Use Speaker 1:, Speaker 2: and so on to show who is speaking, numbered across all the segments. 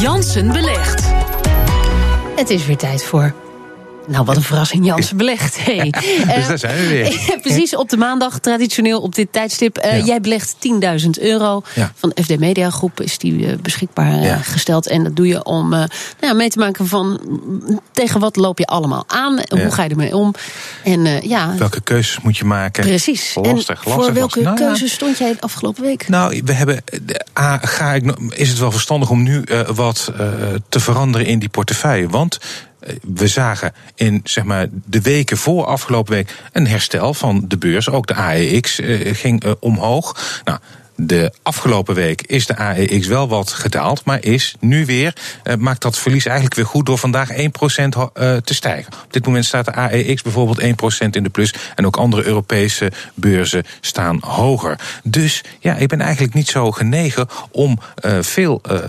Speaker 1: Jansen belegt. Het is weer tijd voor. Nou, wat een verrassing, Jansen belegt. Hey. Eh,
Speaker 2: Dus daar zijn we weer.
Speaker 1: Precies op de maandag, traditioneel op dit tijdstip. Eh,
Speaker 2: Ja.
Speaker 1: Jij belegt 10.000 euro.
Speaker 2: Ja.
Speaker 1: Van FD Media Groep is die eh, beschikbaar eh,
Speaker 2: Ja.
Speaker 1: gesteld. En dat doe je om eh, nou ja, mee te maken van mm, tegen wat loop je allemaal aan. en
Speaker 2: Ja.
Speaker 1: Hoe ga je ermee om? En eh, ja,
Speaker 2: Welke keuzes moet je maken?
Speaker 1: precies. en
Speaker 2: Lastig, lastig.
Speaker 1: voor welke
Speaker 2: lastig. Nou ja,
Speaker 1: keuze stond jij de afgelopen week?
Speaker 2: Nou, we hebben. de- A, ga ik, nog- is het wel verstandig om nu eh, wat eh, te veranderen in die portefeuille? Want eh, we zagen in zeg maar, de weken voor afgelopen week een herstel van de beurs. Ook de AEX eh, ging eh, omhoog. Nou. De afgelopen week is de AEX wel wat gedaald, maar is nu weer, eh, maakt dat verlies eigenlijk weer goed door vandaag 1% ho- eh, te stijgen. Op dit moment staat de AEX bijvoorbeeld 1% in de plus en ook andere Europese beurzen staan hoger. Dus ja, ik ben eigenlijk niet zo genegen om eh, veel eh, eh,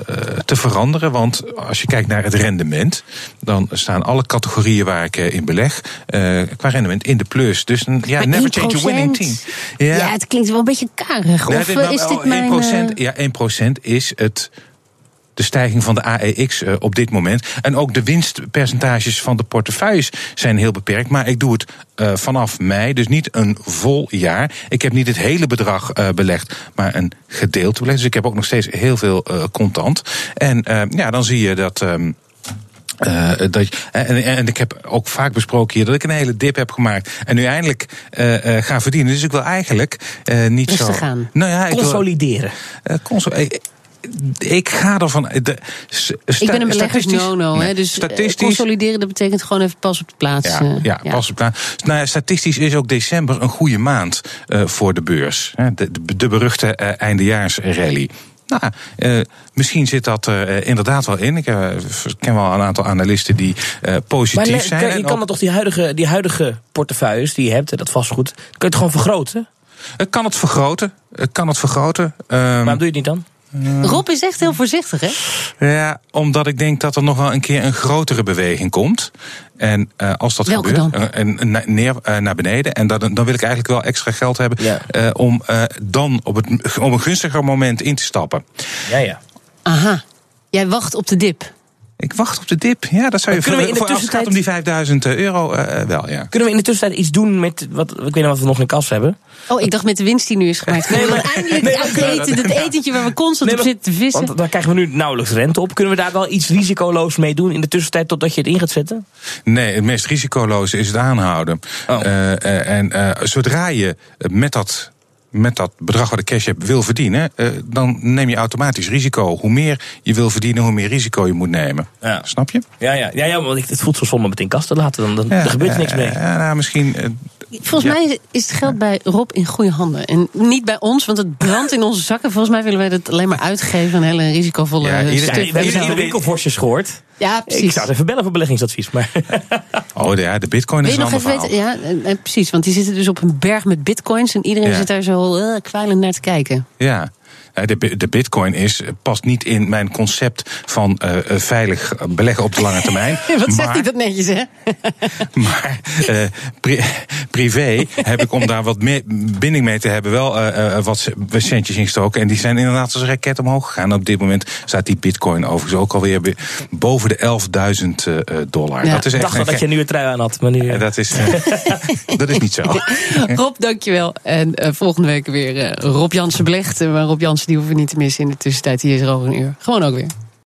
Speaker 2: te veranderen, want als je kijkt naar het rendement, dan staan alle categorieën waar ik eh, in beleg eh, qua rendement in de plus. Dus mm, ja,
Speaker 1: Maar
Speaker 2: never change a
Speaker 1: 1%?
Speaker 2: winning team.
Speaker 1: Ja. het klinkt wel een beetje karig.
Speaker 2: Nee,
Speaker 1: of
Speaker 2: dit-
Speaker 1: eh,
Speaker 2: maar-
Speaker 1: is dit
Speaker 2: oh,
Speaker 1: mijn...
Speaker 2: 1%,
Speaker 1: eh,
Speaker 2: Ja, 1% is het, de stijging van de AEX eh, op dit moment. En ook de winstpercentages van de portefeuilles zijn heel beperkt. Maar ik doe het eh, vanaf mei, dus niet een vol jaar. Ik heb niet het hele bedrag eh, belegd, maar een gedeelte belegd. Dus ik heb ook nog steeds heel veel eh, contant. En eh, ja, dan zie je dat... ehm, eh, dat, je- en, en ik heb ook vaak besproken hier dat ik een hele dip heb gemaakt. En nu eindelijk eh, eh, ga verdienen. Dus ik wil eigenlijk eh, niet
Speaker 1: Rustig
Speaker 2: zo.
Speaker 1: aan.
Speaker 2: Nou ja, ik wil-
Speaker 3: Consolideren.
Speaker 2: eh, console- eh, Ik ga ervan. eh, De, s-
Speaker 1: ik
Speaker 2: sta-
Speaker 1: ben een belegger
Speaker 2: statistisch-
Speaker 1: no-no. hè,
Speaker 2: Nee,
Speaker 1: dus eh,
Speaker 2: statistisch.
Speaker 1: consolideren, dat betekent gewoon even pas op de plaats.
Speaker 3: Dus,
Speaker 2: Ja,
Speaker 1: eh,
Speaker 2: ja, pas op. Nou, nou ja, statistisch is ook december een goede maand eh, voor de beurs. hè, De, de, de beruchte eh, eindejaarsrally. Nou, eh, misschien zit dat er eh, inderdaad wel in. Ik eh, ken wel een aantal analisten die eh,
Speaker 3: Maar
Speaker 2: positief
Speaker 3: le-
Speaker 2: zijn.
Speaker 3: kan-
Speaker 2: en
Speaker 3: je
Speaker 2: ook-
Speaker 3: kan dan toch die huidige, die huidige portefeuilles die je hebt, dat vastgoed, kun je het gewoon vergroten?
Speaker 2: Het kan het vergroten. Het kan het vergroten. Ehm,
Speaker 3: Waarom doe je het niet dan?
Speaker 1: Rob is echt heel voorzichtig, hè?
Speaker 2: Ja, omdat ik denk dat er nog wel een keer een grotere beweging komt. En eh, als dat
Speaker 1: Welke
Speaker 2: gebeurt,
Speaker 1: dan?
Speaker 2: eh, en, en na- neer eh, naar beneden. En dat, dan wil ik eigenlijk wel extra geld hebben
Speaker 3: Ja.
Speaker 2: eh, om eh, dan op, het, op een gunstiger moment in te stappen.
Speaker 3: Ja, ja.
Speaker 1: Aha. Jij wacht op de dip.
Speaker 2: Ik wacht op de dip. Ja, dat zou je
Speaker 3: Maar kunnen we in de
Speaker 2: voor- als het gaat
Speaker 3: tussentijd-
Speaker 2: om die 5000 euro eh, wel, ja.
Speaker 3: Kunnen we in de tussentijd iets doen met wat ik weet niet wat we nog in kas hebben?
Speaker 1: Oh, ik dacht met de winst die nu is gemaakt. Nee, maar eindelijk
Speaker 3: nee,
Speaker 1: het uiteten, dat etentje waar we constant op zitten te vissen.
Speaker 3: Want daar krijgen we nu nauwelijks rente op. Kunnen we daar wel iets risicoloos mee doen in de tussentijd totdat je het in gaat zetten?
Speaker 2: Nee, het meest risicoloze is het aanhouden.
Speaker 3: Oh.
Speaker 2: Eh, eh, en eh, zodra je met dat, met dat bedrag wat de cash hebt wil verdienen, eh, dan neem je automatisch risico. Hoe meer je wil verdienen, hoe meer risico je moet nemen.
Speaker 3: Ja.
Speaker 2: Snap je?
Speaker 3: Ja, ja, ja, ja want ik- het voelt zo zonde om het in kas te laten. Dan, dan er gebeurt er niks mee.
Speaker 2: Eh, eh, nou, misschien. eh,
Speaker 1: Volgens
Speaker 2: ja.
Speaker 1: mij is het geld bij Rob in goede handen. En niet bij ons, want het brandt in onze zakken. Volgens mij willen wij dat alleen maar uitgeven. Een hele risicovolle
Speaker 2: Ja,
Speaker 1: eh,
Speaker 2: iedereen-
Speaker 3: Ja,
Speaker 1: stuk.
Speaker 3: we hebben het aan de
Speaker 2: Iedereen-
Speaker 3: winkelvorstjes gehoord.
Speaker 1: Ja,
Speaker 3: Ik
Speaker 1: precies.
Speaker 3: zou het even bellen voor beleggingsadvies. Maar
Speaker 2: Oh ja, de Bitcoin
Speaker 1: Wil
Speaker 2: is
Speaker 1: je
Speaker 2: een
Speaker 1: nog
Speaker 2: ander
Speaker 1: even
Speaker 2: verhaal.
Speaker 1: weten? Ja, eh, eh, precies. Want die zitten dus op een berg met bitcoins. En iedereen
Speaker 2: Ja.
Speaker 1: zit daar zo eh, kwijlend naar te kijken.
Speaker 2: Ja. Eh, De, bi- de bitcoin is, eh, past niet in mijn concept van eh, eh, veilig beleggen op de lange termijn.
Speaker 1: Wat zegt
Speaker 2: maar-
Speaker 1: hij dat netjes, hè?
Speaker 2: Maar eh, pri- privé heb ik om daar wat meer binding mee te hebben wel eh, eh, wat c- centjes ingestoken. En die zijn inderdaad als een raket omhoog gegaan. Op dit moment staat die bitcoin overigens ook alweer be- boven de 11.000 eh, eh, dollar.
Speaker 1: Ja,
Speaker 2: dat is
Speaker 3: ik
Speaker 2: echt
Speaker 3: dacht al
Speaker 2: een
Speaker 3: dat je
Speaker 2: ge-
Speaker 3: een nieuwe trui aan had. Maar nu,
Speaker 2: Eh, dat is, eh, dat is niet zo.
Speaker 1: Rob, dankjewel. En eh, volgende week weer eh, Rob Jansen Blecht. Eh, Maar Rob Jansen die hoeven we niet te missen in de tussentijd. Hier is er ook een uur. Gewoon ook weer.